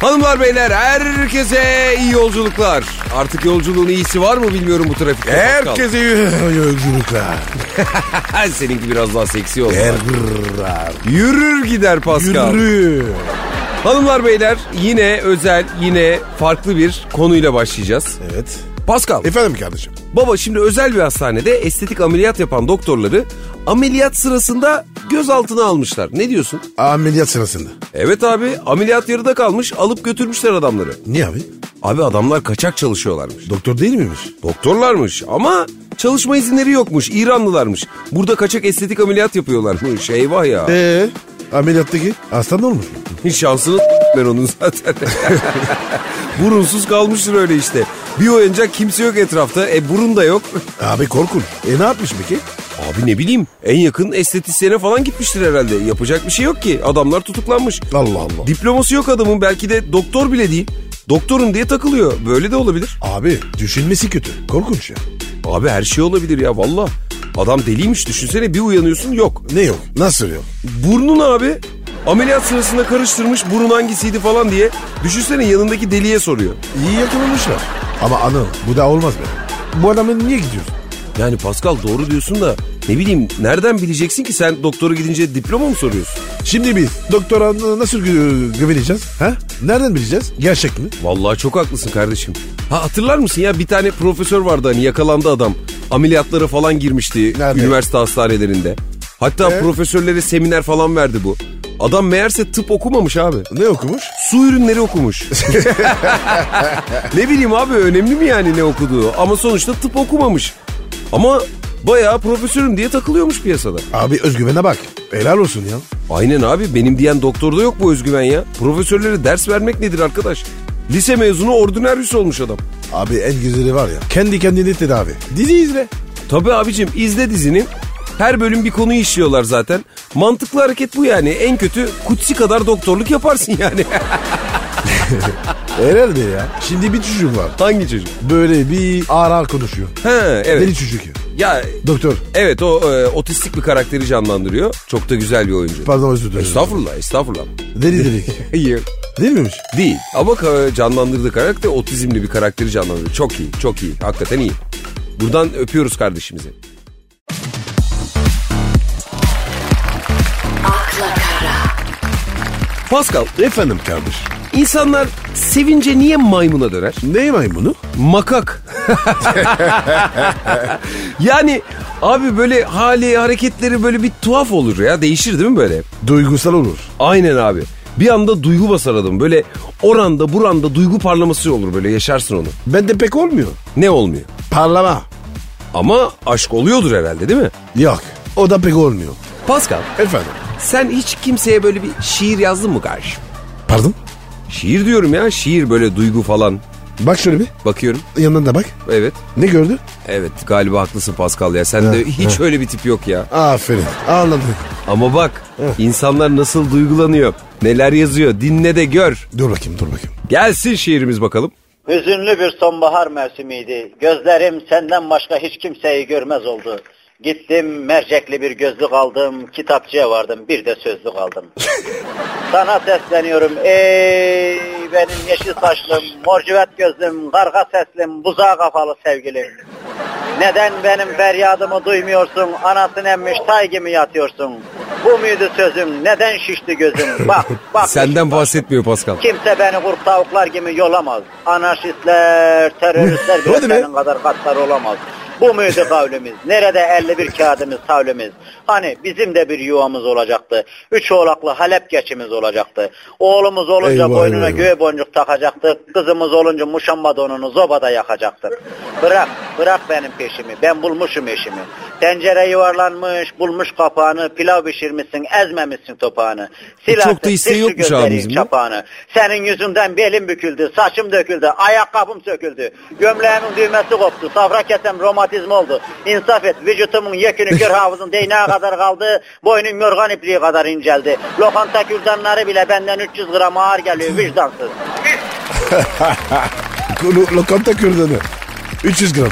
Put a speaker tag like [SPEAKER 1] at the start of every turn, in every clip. [SPEAKER 1] Hanımlar beyler herkese iyi yolculuklar. Artık yolculuğun iyisi var mı bilmiyorum bu trafikte. Pascal.
[SPEAKER 2] Herkese y- yolculuklar.
[SPEAKER 1] Seninki biraz daha seksi oldu.
[SPEAKER 2] Errar.
[SPEAKER 1] Yürür gider Pascal.
[SPEAKER 2] Yürü.
[SPEAKER 1] Hanımlar beyler yine özel yine farklı bir konuyla başlayacağız.
[SPEAKER 2] Evet.
[SPEAKER 1] Pascal
[SPEAKER 2] Efendim kardeşim.
[SPEAKER 1] E, baba şimdi özel bir hastanede estetik ameliyat yapan doktorları ameliyat sırasında gözaltına almışlar. Ne diyorsun?
[SPEAKER 2] Ameliyat sırasında.
[SPEAKER 1] Evet abi ameliyat yarıda kalmış alıp götürmüşler adamları.
[SPEAKER 2] Niye abi?
[SPEAKER 1] Abi adamlar kaçak çalışıyorlarmış.
[SPEAKER 2] Doktor değil miymiş?
[SPEAKER 1] Doktorlarmış ama çalışma izinleri yokmuş. İranlılarmış. Burada kaçak estetik ameliyat yapıyorlarmış. Eyvah ya.
[SPEAKER 2] Eee? Ee? Ameliyattaki hasta ne olmuş?
[SPEAKER 1] Şansını ben onun zaten. Burunsuz kalmıştır öyle işte. Bir oyuncak kimse yok etrafta. E burun da yok.
[SPEAKER 2] Abi korkun. E ne yapmış peki?
[SPEAKER 1] Abi ne bileyim en yakın estetisyene falan gitmiştir herhalde. Yapacak bir şey yok ki. Adamlar tutuklanmış.
[SPEAKER 2] Allah Allah.
[SPEAKER 1] Diploması yok adamın belki de doktor bile değil. Doktorum diye takılıyor. Böyle de olabilir.
[SPEAKER 2] Abi düşünmesi kötü. Korkunç ya.
[SPEAKER 1] Abi her şey olabilir ya valla. Adam deliymiş düşünsene bir uyanıyorsun yok.
[SPEAKER 2] Ne yok? Nasıl yok?
[SPEAKER 1] Burnun abi ameliyat sırasında karıştırmış burun hangisiydi falan diye. Düşünsene yanındaki deliye soruyor.
[SPEAKER 2] İyi yakalamışlar. Ama anıl bu da olmaz be. Bu adamla niye gidiyorsun?
[SPEAKER 1] Yani Pascal doğru diyorsun da ne bileyim nereden bileceksin ki sen doktora gidince diploma mı soruyorsun?
[SPEAKER 2] Şimdi biz doktora n- nasıl gü- güveneceğiz? Ha? Nereden bileceğiz? Gerçek mi?
[SPEAKER 1] Vallahi çok haklısın kardeşim. Ha hatırlar mısın ya bir tane profesör vardı hani yakalandı adam. Ameliyatlara falan girmişti
[SPEAKER 2] Nerede?
[SPEAKER 1] üniversite hastanelerinde. Hatta
[SPEAKER 2] Ee?
[SPEAKER 1] profesörlere seminer falan verdi bu. Adam meğerse tıp okumamış abi.
[SPEAKER 2] Ne okumuş?
[SPEAKER 1] Su ürünleri okumuş. ne bileyim abi önemli mi yani ne okuduğu? Ama sonuçta tıp okumamış. Ama bayağı profesörüm diye takılıyormuş piyasada.
[SPEAKER 2] Abi özgüvene bak. Helal olsun ya.
[SPEAKER 1] Aynen abi benim diyen doktorda yok bu özgüven ya. Profesörlere ders vermek nedir arkadaş? Lise mezunu ordinaryüs olmuş adam.
[SPEAKER 2] Abi en güzeli var ya. Kendi kendini tedavi. Dizi izle.
[SPEAKER 1] Tabii abicim izle dizinin. Her bölüm bir konuyu işliyorlar zaten. Mantıklı hareket bu yani. En kötü kutsi kadar doktorluk yaparsın yani.
[SPEAKER 2] Helal be ya. Şimdi bir çocuk var.
[SPEAKER 1] Hangi çocuk?
[SPEAKER 2] Böyle bir ağır ağır konuşuyor.
[SPEAKER 1] He
[SPEAKER 2] Deli
[SPEAKER 1] evet.
[SPEAKER 2] çocuk ya.
[SPEAKER 1] Ya
[SPEAKER 2] Doktor.
[SPEAKER 1] evet o e, otistik bir karakteri canlandırıyor. Çok da güzel bir oyuncu.
[SPEAKER 2] Pardon özür dilerim.
[SPEAKER 1] Estağfurullah estağfurullah.
[SPEAKER 2] Deli delik.
[SPEAKER 1] İyi.
[SPEAKER 2] Değil miymiş?
[SPEAKER 1] Değil ama ka- canlandırdığı karakter otizmli bir karakteri canlandırıyor. Çok iyi çok iyi hakikaten iyi. Buradan öpüyoruz kardeşimizi. Pascal,
[SPEAKER 2] Efendim kardeş.
[SPEAKER 1] insanlar sevince niye maymuna döner?
[SPEAKER 2] Ne maymunu?
[SPEAKER 1] Makak. yani abi böyle hali hareketleri böyle bir tuhaf olur ya. Değişir değil mi böyle?
[SPEAKER 2] Duygusal olur.
[SPEAKER 1] Aynen abi. Bir anda duygu basar adam. Böyle oranda buranda duygu parlaması olur böyle yaşarsın onu.
[SPEAKER 2] Bende pek olmuyor.
[SPEAKER 1] Ne olmuyor?
[SPEAKER 2] Parlama.
[SPEAKER 1] Ama aşk oluyordur herhalde değil mi?
[SPEAKER 2] Yok. O da pek olmuyor.
[SPEAKER 1] Pascal
[SPEAKER 2] Efendim.
[SPEAKER 1] sen hiç kimseye böyle bir şiir yazdın mı kardeşim?
[SPEAKER 2] Pardon?
[SPEAKER 1] Şiir diyorum ya şiir böyle duygu falan.
[SPEAKER 2] Bak şöyle bir.
[SPEAKER 1] Bakıyorum
[SPEAKER 2] Yanından da bak.
[SPEAKER 1] evet.
[SPEAKER 2] Ne gördü?
[SPEAKER 1] Evet galiba haklısın Pascal ya. Sende hiç öyle bir tip yok ya.
[SPEAKER 2] Aferin. Anladım.
[SPEAKER 1] Ama bak insanlar nasıl duygulanıyor. Neler yazıyor dinle de gör.
[SPEAKER 2] Dur bakayım dur bakayım.
[SPEAKER 1] Gelsin şiirimiz bakalım.
[SPEAKER 3] Hüzünlü bir sonbahar mevsimiydi. Gözlerim senden başka hiç kimseyi görmez oldu. Gittim mercekli bir gözlük aldım, kitapçıya vardım, bir de sözlük aldım. Sana sesleniyorum ey benim yeşil saçlım, morcivet gözlüm, karga seslim, buzağa kafalı sevgilim. Neden benim feryadımı duymuyorsun, anasını emmiş tay gibi yatıyorsun? Bu muydu sözüm, neden şişti gözüm? Bak, bak.
[SPEAKER 1] Senden bahsetmiyor Pascal.
[SPEAKER 3] Kimse beni kurt tavuklar gibi yolamaz. Anarşistler, teröristler bile
[SPEAKER 2] Hadi be.
[SPEAKER 3] senin kadar katlar olamaz. Bu muydu kavlimiz? Nerede 51 kağıdımız, tavlimiz? Hani bizim de bir yuvamız olacaktı. Üç oğlaklı Halep geçimiz olacaktı. Oğlumuz olunca
[SPEAKER 2] Eyvah,
[SPEAKER 3] boynuna
[SPEAKER 2] eyvah.
[SPEAKER 3] göğe boncuk takacaktık. Kızımız olunca muşamba donunu zobada yakacaktık. Bırak, bırak benim peşimi. Ben bulmuşum eşimi. Tencere yuvarlanmış, bulmuş kapağını, pilav pişirmişsin, ezmemişsin topağını. Silah
[SPEAKER 1] E, çok da isteği yokmuş abimizin, değil mi?
[SPEAKER 3] kapağını. Senin yüzünden belim büküldü, saçım döküldü, ayakkabım söküldü. Gömleğimin düğmesi koptu, safra kesem romatizm oldu. İnsaf et, vücutumun yekünü kör havuzun değneğe kadar kaldı, boynum yorgan ipliği kadar inceldi. Lokanta kürdanları bile benden 300 gram ağır geliyor, vicdansız.
[SPEAKER 2] Lo- lokanta kürdanı. 300 gram.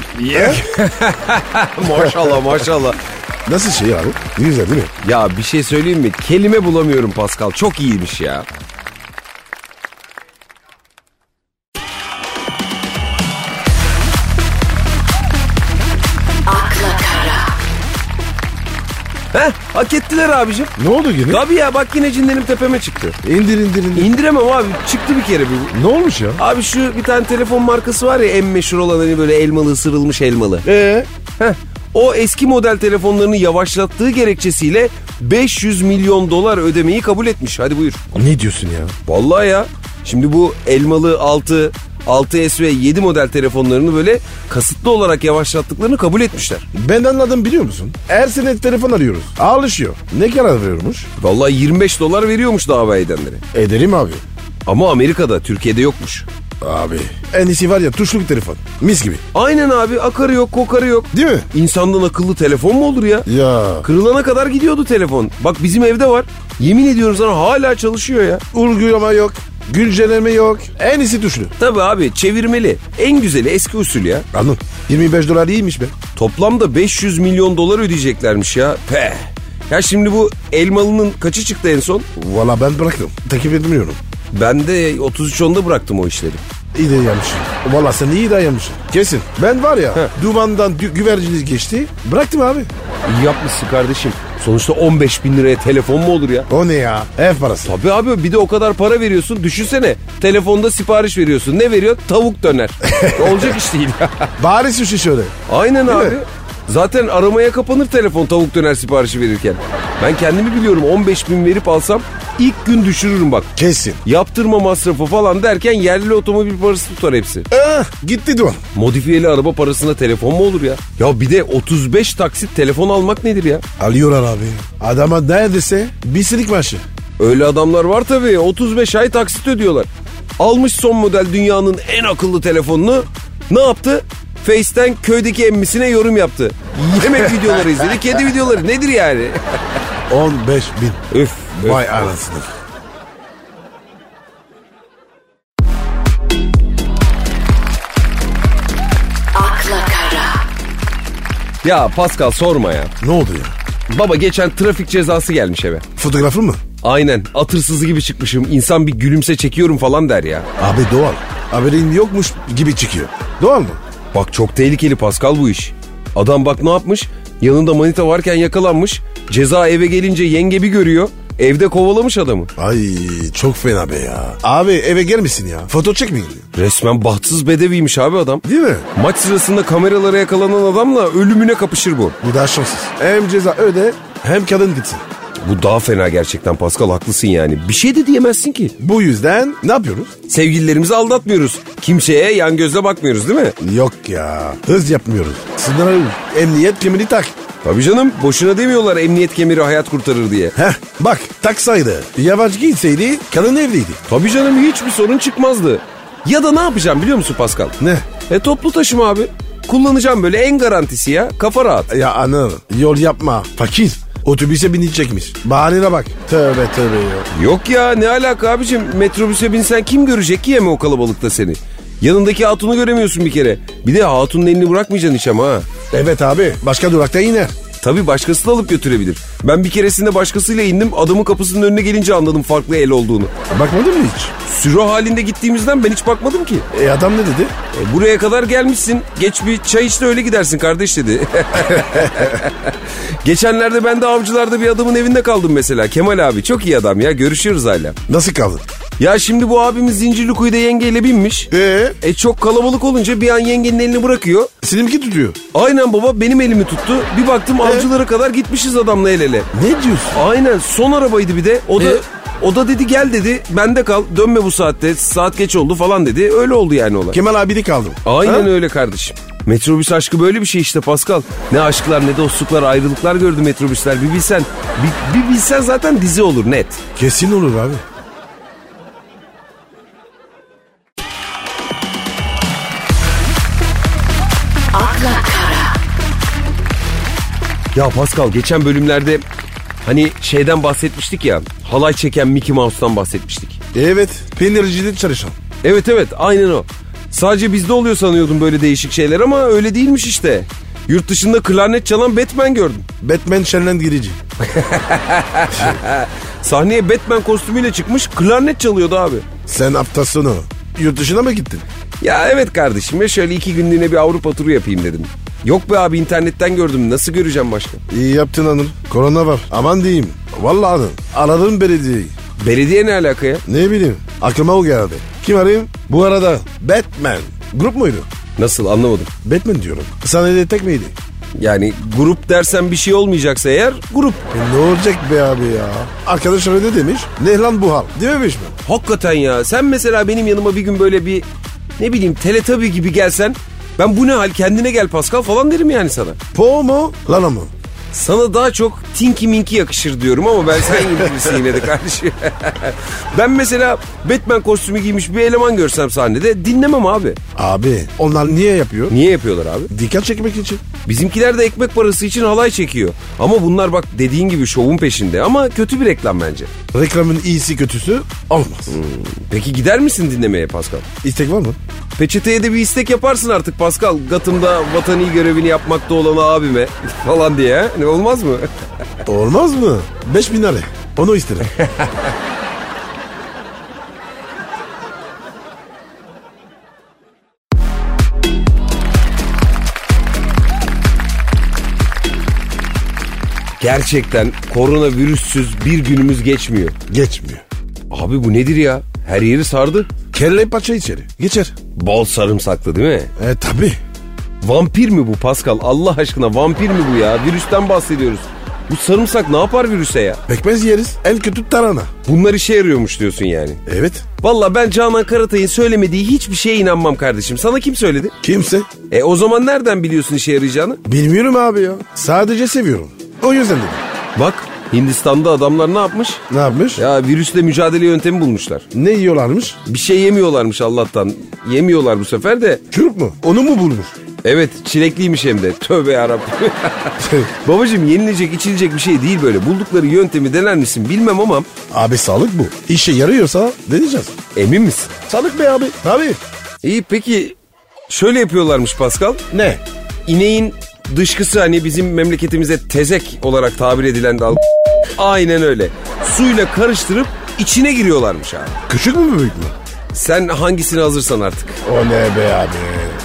[SPEAKER 1] maşallah maşallah.
[SPEAKER 2] Nasıl şey abi? Güzel değil mi?
[SPEAKER 1] Ya bir şey söyleyeyim mi? Kelime bulamıyorum Pascal. Çok iyiymiş ya. Heh hak ettiler abicim.
[SPEAKER 2] Ne oldu yine?
[SPEAKER 1] Tabii ya bak yine cinlerim tepeme çıktı.
[SPEAKER 2] İndir indir indir.
[SPEAKER 1] İndiremem abi çıktı bir kere bu.
[SPEAKER 2] Ne olmuş ya?
[SPEAKER 1] Abi şu bir tane telefon markası var ya en meşhur olan hani böyle elmalı ısırılmış elmalı.
[SPEAKER 2] Ee?
[SPEAKER 1] Heh, o eski model telefonlarını yavaşlattığı gerekçesiyle 500 milyon dolar ödemeyi kabul etmiş. Hadi buyur.
[SPEAKER 2] Ne diyorsun ya?
[SPEAKER 1] Vallahi ya. Şimdi bu elmalı 6, 6S ve 7 model telefonlarını böyle kasıtlı olarak yavaşlattıklarını kabul etmişler.
[SPEAKER 2] Ben anladım biliyor musun? Her sene telefon arıyoruz. Ağırlaşıyor. Ne karar veriyormuş?
[SPEAKER 1] Vallahi 25 dolar veriyormuş dava edenlere.
[SPEAKER 2] Ederim abi.
[SPEAKER 1] Ama Amerika'da, Türkiye'de yokmuş.
[SPEAKER 2] Abi. En iyisi var ya tuşlu bir telefon. Mis gibi.
[SPEAKER 1] Aynen abi akarı yok, kokarı yok.
[SPEAKER 2] Değil mi?
[SPEAKER 1] İnsandan akıllı telefon mu olur ya?
[SPEAKER 2] Ya.
[SPEAKER 1] Kırılana kadar gidiyordu telefon. Bak bizim evde var. Yemin ediyorum sana hala çalışıyor ya.
[SPEAKER 2] Urgulama yok. Güncelleme yok. En iyisi tuşlu.
[SPEAKER 1] Tabii abi çevirmeli. En güzeli eski usul ya.
[SPEAKER 2] Anladım. 25 dolar iyiymiş be.
[SPEAKER 1] Toplamda 500 milyon dolar ödeyeceklermiş ya. Peh. Ya şimdi bu elmalının kaçı çıktı en son?
[SPEAKER 2] Valla ben bıraktım. Takip etmiyorum.
[SPEAKER 1] Ben de 33.10'da bıraktım o işleri.
[SPEAKER 2] İyi de yanmışsın. Valla sen iyi de yanmışsın. Kesin. Ben var ya
[SPEAKER 1] Heh.
[SPEAKER 2] dumandan gü- güverciniz geçti. Bıraktım abi.
[SPEAKER 1] İyi yapmışsın kardeşim. Sonuçta 15 bin liraya telefon mu olur ya?
[SPEAKER 2] O ne ya? Ev parası.
[SPEAKER 1] Tabii abi bir de o kadar para veriyorsun. Düşünsene telefonda sipariş veriyorsun. Ne veriyor? Tavuk döner. Olacak iş değil.
[SPEAKER 2] Bari sushi şöyle.
[SPEAKER 1] Aynen
[SPEAKER 2] Değil mi?
[SPEAKER 1] abi. Zaten aramaya kapanır telefon tavuk döner siparişi verirken. Ben kendimi biliyorum 15 bin verip alsam ilk gün düşürürüm bak.
[SPEAKER 2] Kesin.
[SPEAKER 1] Yaptırma masrafı falan derken yerli otomobil parası tutar hepsi.
[SPEAKER 2] Ah, gitti duman.
[SPEAKER 1] Modifiyeli araba parasına telefon mu olur ya? Ya bir de 35 taksit telefon almak nedir ya?
[SPEAKER 2] Alıyorlar abi. Adama neredeyse bir silik maaşı.
[SPEAKER 1] Öyle adamlar var tabii 35 ay taksit ödüyorlar. Almış son model dünyanın en akıllı telefonunu ne yaptı? Face'ten köydeki emmisine yorum yaptı. Yemek videoları izledi, kedi videoları nedir yani?
[SPEAKER 2] 15 bin.
[SPEAKER 1] Üf, üf.
[SPEAKER 2] Vay anasını.
[SPEAKER 4] akla kara,
[SPEAKER 1] Ya Pascal sorma ya.
[SPEAKER 2] Ne oldu ya?
[SPEAKER 1] Baba geçen trafik cezası gelmiş eve.
[SPEAKER 2] Fotoğrafı mı?
[SPEAKER 1] Aynen atırsızı gibi çıkmışım. İnsan bir gülümse çekiyorum falan der ya.
[SPEAKER 2] Abi doğal. Haberin yokmuş gibi çıkıyor. Doğal mı?
[SPEAKER 1] Bak çok tehlikeli Pascal bu iş. Adam bak ne yapmış? Yanında manita varken yakalanmış. Ceza eve gelince yenge bir görüyor. Evde kovalamış adamı.
[SPEAKER 2] Ay çok fena be ya. Abi eve gelmesin ya. Foto çekmeyin.
[SPEAKER 1] Resmen bahtsız bedeviymiş abi adam.
[SPEAKER 2] Değil mi?
[SPEAKER 1] Maç sırasında kameralara yakalanan adamla ölümüne kapışır bu.
[SPEAKER 2] Bu da şanssız. Hem ceza öde hem kadın gitsin.
[SPEAKER 1] Bu daha fena gerçekten Pascal haklısın yani. Bir şey de diyemezsin ki.
[SPEAKER 2] Bu yüzden ne yapıyoruz?
[SPEAKER 1] Sevgililerimizi aldatmıyoruz. Kimseye yan gözle bakmıyoruz değil mi?
[SPEAKER 2] Yok ya. Hız yapmıyoruz. Sınırlı. Emniyet kemerini tak.
[SPEAKER 1] Tabii canım boşuna demiyorlar emniyet kemeri hayat kurtarır diye.
[SPEAKER 2] Heh bak taksaydı. Yavaş gitseydi kadın evdeydi.
[SPEAKER 1] Tabii canım hiçbir sorun çıkmazdı. Ya da ne yapacağım biliyor musun Pascal?
[SPEAKER 2] Ne?
[SPEAKER 1] E toplu taşıma abi. Kullanacağım böyle en garantisi ya. Kafa rahat.
[SPEAKER 2] Ya anıl yol yapma. Fakir. Otobüse binecekmiş. Bahanene bak. Tövbe tövbe ya.
[SPEAKER 1] Hani Yok ya ne alaka abicim metrobüse binsen kim görecek ki yeme o kalabalıkta seni. Yanındaki hatunu göremiyorsun bir kere. Bir de hatunun elini bırakmayacaksın hiç ama ha.
[SPEAKER 2] Evet abi başka durakta iner.
[SPEAKER 1] Tabii başkası da alıp götürebilir. Ben bir keresinde başkasıyla indim adamın kapısının önüne gelince anladım farklı el olduğunu.
[SPEAKER 2] Bakmadın mı hiç?
[SPEAKER 1] Sürü halinde gittiğimizden ben hiç bakmadım ki.
[SPEAKER 2] E adam ne dedi?
[SPEAKER 1] E, buraya kadar gelmişsin. Geç bir çay iç de öyle gidersin kardeş dedi. Geçenlerde ben de avcılarda bir adamın evinde kaldım mesela. Kemal abi çok iyi adam ya görüşüyoruz hala.
[SPEAKER 2] Nasıl kaldın?
[SPEAKER 1] Ya şimdi bu abimiz Zincirlikuyu'da yengeyle binmiş.
[SPEAKER 2] Ee?
[SPEAKER 1] E çok kalabalık olunca bir an yengenin elini bırakıyor.
[SPEAKER 2] Seninki tutuyor.
[SPEAKER 1] Aynen baba benim elimi tuttu. Bir baktım avcılara kadar gitmişiz adamla el ele.
[SPEAKER 2] Ne diyorsun?
[SPEAKER 1] Aynen son arabaydı bir de. O da
[SPEAKER 2] E?
[SPEAKER 1] o da dedi gel dedi. Bende kal. Dönme bu saatte. Saat geç oldu falan dedi. Öyle oldu yani olay.
[SPEAKER 2] Kemal abi de kaldım.
[SPEAKER 1] Aynen öyle kardeşim. Metrobüs aşkı böyle bir şey işte Pascal. Ne aşklar ne dostluklar ayrılıklar gördü metrobüsler. Bir bilsen, bir, bir bilsen zaten dizi olur net.
[SPEAKER 2] Kesin olur abi.
[SPEAKER 4] akla kara,
[SPEAKER 1] Ya Pascal geçen bölümlerde hani şeyden bahsetmiştik ya. Halay çeken Mickey Mouse'dan bahsetmiştik.
[SPEAKER 2] Evet. Peynircide çalışan.
[SPEAKER 1] Evet evet aynen o. Sadece bizde oluyor sanıyordum böyle değişik şeyler ama öyle değilmiş işte. Yurt dışında klarnet çalan Batman gördüm.
[SPEAKER 2] Batman şenlendirici.
[SPEAKER 1] Sahneye Batman kostümüyle çıkmış klarnet çalıyordu abi.
[SPEAKER 2] Sen hafta sonu yurt dışına mı gittin?
[SPEAKER 1] Ya evet kardeşim ya şöyle iki günlüğüne bir Avrupa turu yapayım dedim. Yok be abi internetten gördüm. Nasıl göreceğim başka?
[SPEAKER 2] İyi yaptın hanım. Korona var. Aman diyeyim. Vallahi hanım. Aradım belediyeyi.
[SPEAKER 1] Belediye ne alaka ya?
[SPEAKER 2] Ne bileyim. Aklıma o geldi. Kim arayayım? Bu arada Batman. Grup muydu?
[SPEAKER 1] Nasıl anlamadım.
[SPEAKER 2] Batman diyorum. Sahnede tek miydi?
[SPEAKER 1] Yani grup dersen bir şey olmayacaksa eğer grup.
[SPEAKER 2] E ne olacak be abi ya? Arkadaş öyle demiş. Ne lan bu hal? Dememiş mi?
[SPEAKER 1] Hakikaten ya sen mesela benim yanıma bir gün böyle bir ne bileyim teletabi gibi gelsen ben bu ne hal kendine gel Pascal falan derim yani sana.
[SPEAKER 2] Po mu? Lana mı?
[SPEAKER 1] Sana daha çok Tinky Minky yakışır diyorum ama ben sen gibi birisi yine de kardeşim. ben mesela Batman kostümü giymiş bir eleman görsem sahnede dinlemem abi.
[SPEAKER 2] Abi onlar niye yapıyor?
[SPEAKER 1] Niye yapıyorlar abi?
[SPEAKER 2] Dikkat çekmek için.
[SPEAKER 1] Bizimkiler de ekmek parası için halay çekiyor. Ama bunlar bak dediğin gibi şovun peşinde ama kötü bir reklam bence.
[SPEAKER 2] Reklamın iyisi kötüsü olmaz.
[SPEAKER 1] Peki gider misin dinlemeye Pascal?
[SPEAKER 2] İstek var mı?
[SPEAKER 1] Peçeteye de bir istek yaparsın artık Pascal. Gatımda vatani görevini yapmakta olan abime falan diye. Ne olmaz mı?
[SPEAKER 2] Olmaz mı? 5000 lira. Onu isterim.
[SPEAKER 1] Gerçekten koronavirüssüz bir günümüz geçmiyor.
[SPEAKER 2] Geçmiyor.
[SPEAKER 1] Abi bu nedir ya? Her yeri sardı.
[SPEAKER 2] Kelle paça içeri. Geçer.
[SPEAKER 1] Bol sarımsaklı değil mi?
[SPEAKER 2] E tabi.
[SPEAKER 1] Vampir mi bu Pascal? Allah aşkına vampir mi bu ya? Virüsten bahsediyoruz. Bu sarımsak ne yapar virüse ya?
[SPEAKER 2] Pekmez yeriz. En kötü tarhana.
[SPEAKER 1] Bunlar işe yarıyormuş diyorsun yani.
[SPEAKER 2] Evet.
[SPEAKER 1] Valla ben Canan Karatay'ın söylemediği hiçbir şeye inanmam kardeşim. Sana kim söyledi?
[SPEAKER 2] Kimse.
[SPEAKER 1] E o zaman nereden biliyorsun işe yarayacağını?
[SPEAKER 2] Bilmiyorum abi ya. Sadece seviyorum. O yüzden dedim.
[SPEAKER 1] Bak Hindistan'da adamlar ne yapmış?
[SPEAKER 2] Ne yapmış?
[SPEAKER 1] Ya virüsle mücadele yöntemi bulmuşlar.
[SPEAKER 2] Ne yiyorlarmış?
[SPEAKER 1] Bir şey yemiyorlarmış Allah'tan. Yemiyorlar bu sefer de.
[SPEAKER 2] Kürk mü? Onu mu bulmuş?
[SPEAKER 1] Evet çilekliymiş hem de. Tövbe yarabbim. Babacım yenilecek içilecek bir şey değil böyle. Buldukları yöntemi dener misin bilmem ama
[SPEAKER 2] abi sağlık bu. İşe yarıyorsa deneyeceğiz.
[SPEAKER 1] emin misin?
[SPEAKER 2] Sağlık be abi. Tabi.
[SPEAKER 1] İyi peki şöyle yapıyorlarmış Pascal.
[SPEAKER 2] Ne?
[SPEAKER 1] İneğin dışkısı hani bizim memleketimize tezek olarak tabir edilen dal. Aynen öyle. Suyla karıştırıp içine giriyorlarmış abi.
[SPEAKER 2] Küçük mü büyük mü?
[SPEAKER 1] Sen hangisini hazırsan artık.
[SPEAKER 2] O ne be abi?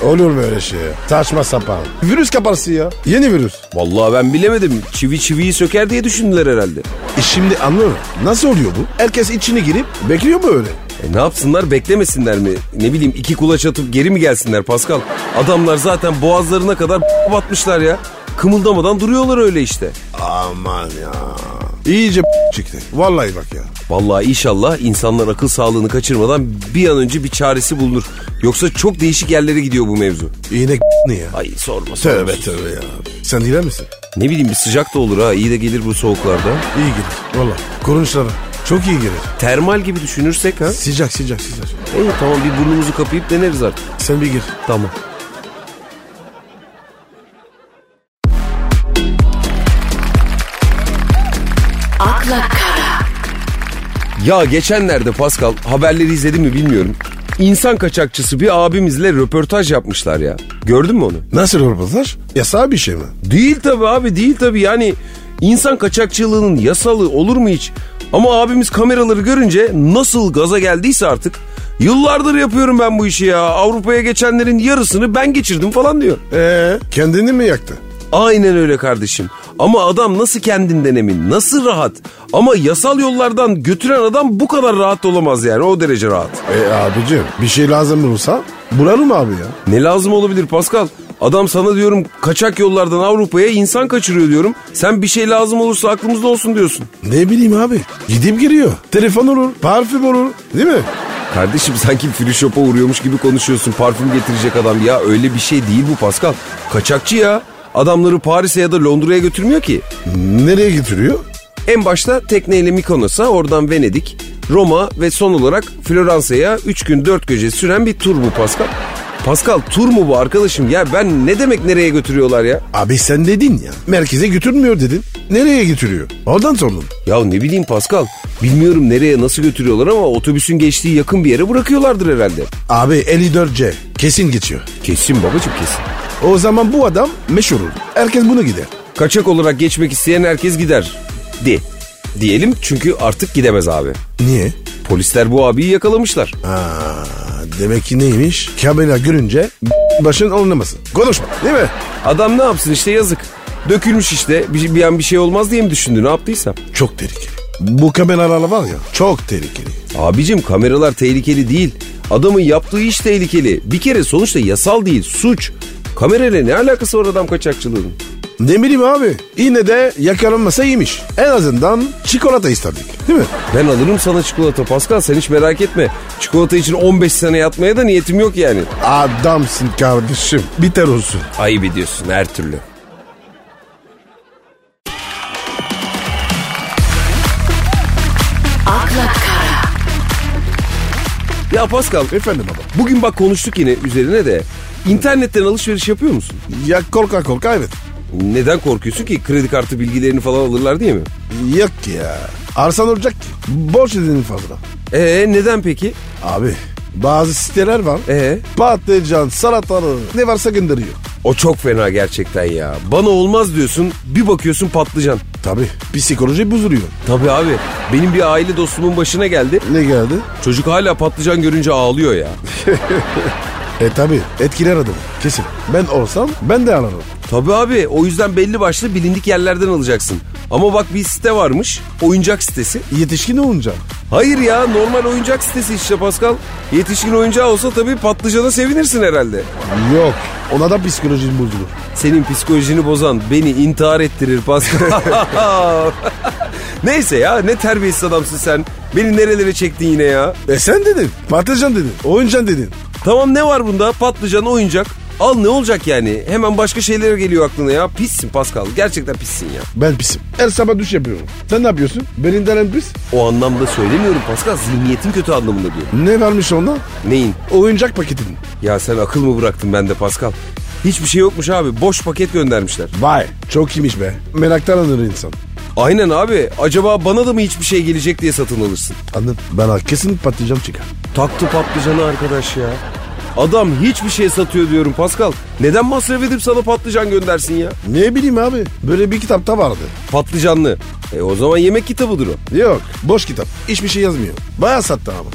[SPEAKER 2] Olur mu öyle şey? Saçma sapan. Virüs kaparsı ya. Yeni virüs.
[SPEAKER 1] Vallahi ben bilemedim. Çivi çiviyi söker diye düşündüler herhalde.
[SPEAKER 2] E şimdi anlıyorum. Nasıl oluyor bu? Herkes içine girip bekliyor mu öyle?
[SPEAKER 1] E ne yapsınlar beklemesinler mi? Ne bileyim iki kulaç atıp geri mi gelsinler Pascal? Adamlar zaten boğazlarına kadar batmışlar ya. Kımıldamadan duruyorlar öyle işte.
[SPEAKER 2] Aman ya. İyice çıktı. Vallahi bak ya.
[SPEAKER 1] Vallahi inşallah insanlar akıl sağlığını kaçırmadan bir an önce bir çaresi bulunur. Yoksa çok değişik yerlere gidiyor bu mevzu.
[SPEAKER 2] İğne ne ya?
[SPEAKER 1] Ay sorma sorma.
[SPEAKER 2] Tövbe tövbe ya. Sen diler misin?
[SPEAKER 1] Ne bileyim bir sıcak da olur ha iyi de gelir bu soğuklarda.
[SPEAKER 2] İyi gelir. Valla. Korunuşlara. Çok iyi gelir.
[SPEAKER 1] Termal gibi düşünürsek ha.
[SPEAKER 2] Sıcak sıcak sıcak.
[SPEAKER 1] İyi tamam bir burnumuzu kapayıp deneriz artık.
[SPEAKER 2] Sen bir gir.
[SPEAKER 1] Tamam.
[SPEAKER 4] akla kara,
[SPEAKER 1] Ya geçenlerde Pascal haberleri izledin mi bilmiyorum. İnsan kaçakçısı bir abimizle röportaj yapmışlar ya. Gördün mü onu?
[SPEAKER 2] Nasıl röportaj? Yasal bir şey mi?
[SPEAKER 1] Değil tabi abi değil tabi yani insan kaçakçılığının yasalı olur mu hiç? Ama abimiz kameraları görünce nasıl gaza geldiyse artık yıllardır yapıyorum ben bu işi ya Avrupa'ya geçenlerin yarısını ben geçirdim falan diyor. E,
[SPEAKER 2] Ee, kendini mi yaktı?
[SPEAKER 1] Aynen öyle kardeşim. Ama adam nasıl kendinden emin, nasıl rahat. Ama yasal yollardan götüren adam bu kadar rahat olamaz yani o derece rahat.
[SPEAKER 2] E abicim bir şey lazım olursa bulalım abi ya.
[SPEAKER 1] Ne lazım olabilir Pascal? Adam sana diyorum kaçak yollardan Avrupa'ya insan kaçırıyor diyorum. Sen bir şey lazım olursa aklımızda olsun diyorsun.
[SPEAKER 2] Ne bileyim abi. Gidip giriyor. Telefon olur, parfüm olur. Değil mi?
[SPEAKER 1] Kardeşim sanki free shop'a uğruyormuş gibi konuşuyorsun. Parfüm getirecek adam ya öyle bir şey değil bu Pascal. Kaçakçı ya. Adamları Paris'e ya da Londra'ya götürmüyor ki.
[SPEAKER 2] Nereye getiriyor?
[SPEAKER 1] En başta tekneyle Mikonos'a, oradan Venedik, Roma ve son olarak Floransa'ya 3 gün 4 gece süren bir tur bu Pascal. Pascal tur mu bu arkadaşım ya ben ne demek nereye götürüyorlar ya?
[SPEAKER 2] Abi sen dedin ya. Merkeze götürmüyor dedin. Nereye götürüyor? Oradan sordum.
[SPEAKER 1] Ya ne bileyim Pascal bilmiyorum nereye nasıl götürüyorlar ama otobüsün geçtiği yakın bir yere bırakıyorlardır herhalde.
[SPEAKER 2] Abi 54C kesin geçiyor.
[SPEAKER 1] Kesin babacım kesin.
[SPEAKER 2] O zaman bu adam meşhur olur. Herkes bunu gider.
[SPEAKER 1] Kaçak olarak geçmek isteyen herkes gider. Di. Diyelim çünkü artık gidemez abi.
[SPEAKER 2] Niye?
[SPEAKER 1] Polisler bu abiyi yakalamışlar.
[SPEAKER 2] Aa, Demek ki neymiş? Kamera görünce başın olmasın. Konuşma değil mi?
[SPEAKER 1] Adam ne yapsın işte yazık. Dökülmüş işte bir, bir an bir şey olmaz diye mi düşündü ne yaptıysa.
[SPEAKER 2] Çok tehlikeli. Bu kameralar var ya çok tehlikeli.
[SPEAKER 1] Abicim kameralar tehlikeli değil. Adamın yaptığı iş tehlikeli. Bir kere sonuçta yasal değil suç. Kamerayla ne alakası var adam kaçakçılığının?
[SPEAKER 2] Ne bileyim abi yine de yakalanmasa iyiymiş. En azından çikolata isterdik değil mi?
[SPEAKER 1] Ben alırım sana çikolata Pascal sen hiç merak etme. Çikolata için 15 sene yatmaya da niyetim yok yani.
[SPEAKER 2] Adamsın kardeşim biter olsun.
[SPEAKER 1] Ayıp ediyorsun her türlü.
[SPEAKER 4] akla kara,
[SPEAKER 1] Ya Pascal
[SPEAKER 2] Efendim baba.
[SPEAKER 1] bugün bak konuştuk yine üzerine de. İnternetten alışveriş yapıyor musun?
[SPEAKER 2] Ya korka korka evet.
[SPEAKER 1] Neden korkuyorsun ki? Kredi kartı bilgilerini falan alırlar değil mi?
[SPEAKER 2] Yok ki ya. Arsan olacak ki. Borç edinin fazla.
[SPEAKER 1] Ee neden peki?
[SPEAKER 2] Abi bazı siteler var.
[SPEAKER 1] Ee
[SPEAKER 2] Patlıcan, salatalı ne varsa gönderiyor.
[SPEAKER 1] o çok fena gerçekten ya. Bana olmaz diyorsun bir bakıyorsun patlıcan.
[SPEAKER 2] Tabi psikoloji bozuluyor.
[SPEAKER 1] Tabii abi benim bir aile dostumun başına geldi.
[SPEAKER 2] Ne geldi?
[SPEAKER 1] Çocuk hala patlıcan görünce ağlıyor ya.
[SPEAKER 2] E tabi etkiler adamı kesin. Ben olsam ben de alırım.
[SPEAKER 1] Tabii abi o yüzden belli başlı bilindik yerlerden alacaksın. Ama bak bir site varmış oyuncak sitesi.
[SPEAKER 2] Yetişkin olunca.
[SPEAKER 1] Hayır ya normal oyuncak sitesi işte Pascal. Yetişkin oyuncağı olsa tabii patlıcana sevinirsin herhalde.
[SPEAKER 2] Yok ona da psikoloji bozulur.
[SPEAKER 1] Senin psikolojini bozan beni intihar ettirir Pascal. Neyse ya ne terbiyesiz adamsın sen. Beni nerelere çektin yine ya.
[SPEAKER 2] E sen dedin patlıcan dedin oyuncan dedin.
[SPEAKER 1] Tamam ne var bunda patlıcan oyuncak. Al ne olacak yani? Hemen başka şeyler geliyor aklına ya. Pissin Pascal. Gerçekten pissin ya.
[SPEAKER 2] Ben pisim. Her sabah düş yapıyorum. Sen ne yapıyorsun? Beninden en pis.
[SPEAKER 1] O anlamda söylemiyorum Pascal. Zihniyetin kötü anlamında diyorum.
[SPEAKER 2] Ne varmış onda?
[SPEAKER 1] Neyin?
[SPEAKER 2] Oyuncak paketinin.
[SPEAKER 1] Ya sen akıl mı bıraktın bende Pascal? Hiçbir şey yokmuş abi. Boş paket göndermişler.
[SPEAKER 2] Vay çok iyiymiş be. Meraktan alır insan.
[SPEAKER 1] Aynen abi. Acaba bana da mı hiçbir şey gelecek diye satın alırsın?
[SPEAKER 2] Anladım. Bana kesin patlıcan çıkar.
[SPEAKER 1] Taktı patlıcanı arkadaş ya. Adam hiçbir şey satıyor diyorum Pascal. Neden masraf edip sana patlıcan göndersin ya?
[SPEAKER 2] Ne bileyim abi. Böyle bir kitapta vardı.
[SPEAKER 1] Patlıcanlı. E o zaman yemek kitabıdır o.
[SPEAKER 2] Yok. Boş kitap. Hiçbir şey yazmıyor. Bayağı sattı ama.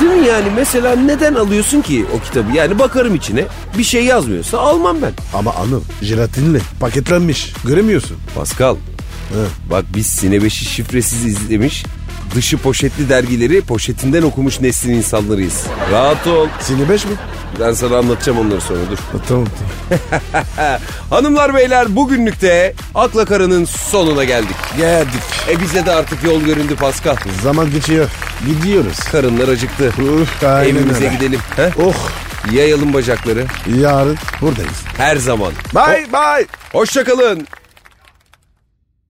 [SPEAKER 1] Değil mi yani mesela neden alıyorsun ki o kitabı? Yani bakarım içine bir şey yazmıyorsa almam ben.
[SPEAKER 2] Ama anıl jelatinle paketlenmiş. Göremiyorsun.
[SPEAKER 1] Pascal bak biz Sinebeş'i şifresiz izlemiş dışı poşetli dergileri poşetinden okumuş neslin insanlarıyız. Rahat ol.
[SPEAKER 2] Sinebeş mi?
[SPEAKER 1] Ben sana anlatacağım onları sonra dur.
[SPEAKER 2] Ha, tamam tamam.
[SPEAKER 1] Hanımlar beyler bugünlük de Akla Kara'nın sonuna geldik.
[SPEAKER 2] Geldik.
[SPEAKER 1] E bize de artık yol göründü Pascal.
[SPEAKER 2] Zaman geçiyor. Gidiyoruz.
[SPEAKER 1] Karınlar acıktı.
[SPEAKER 2] Uf, aynen
[SPEAKER 1] Evimize
[SPEAKER 2] öyle.
[SPEAKER 1] gidelim. He?
[SPEAKER 2] Oh
[SPEAKER 1] Yayalım bacakları.
[SPEAKER 2] yarın buradayız.
[SPEAKER 1] Her zaman.
[SPEAKER 2] Bye bye.
[SPEAKER 1] Hoşçakalın.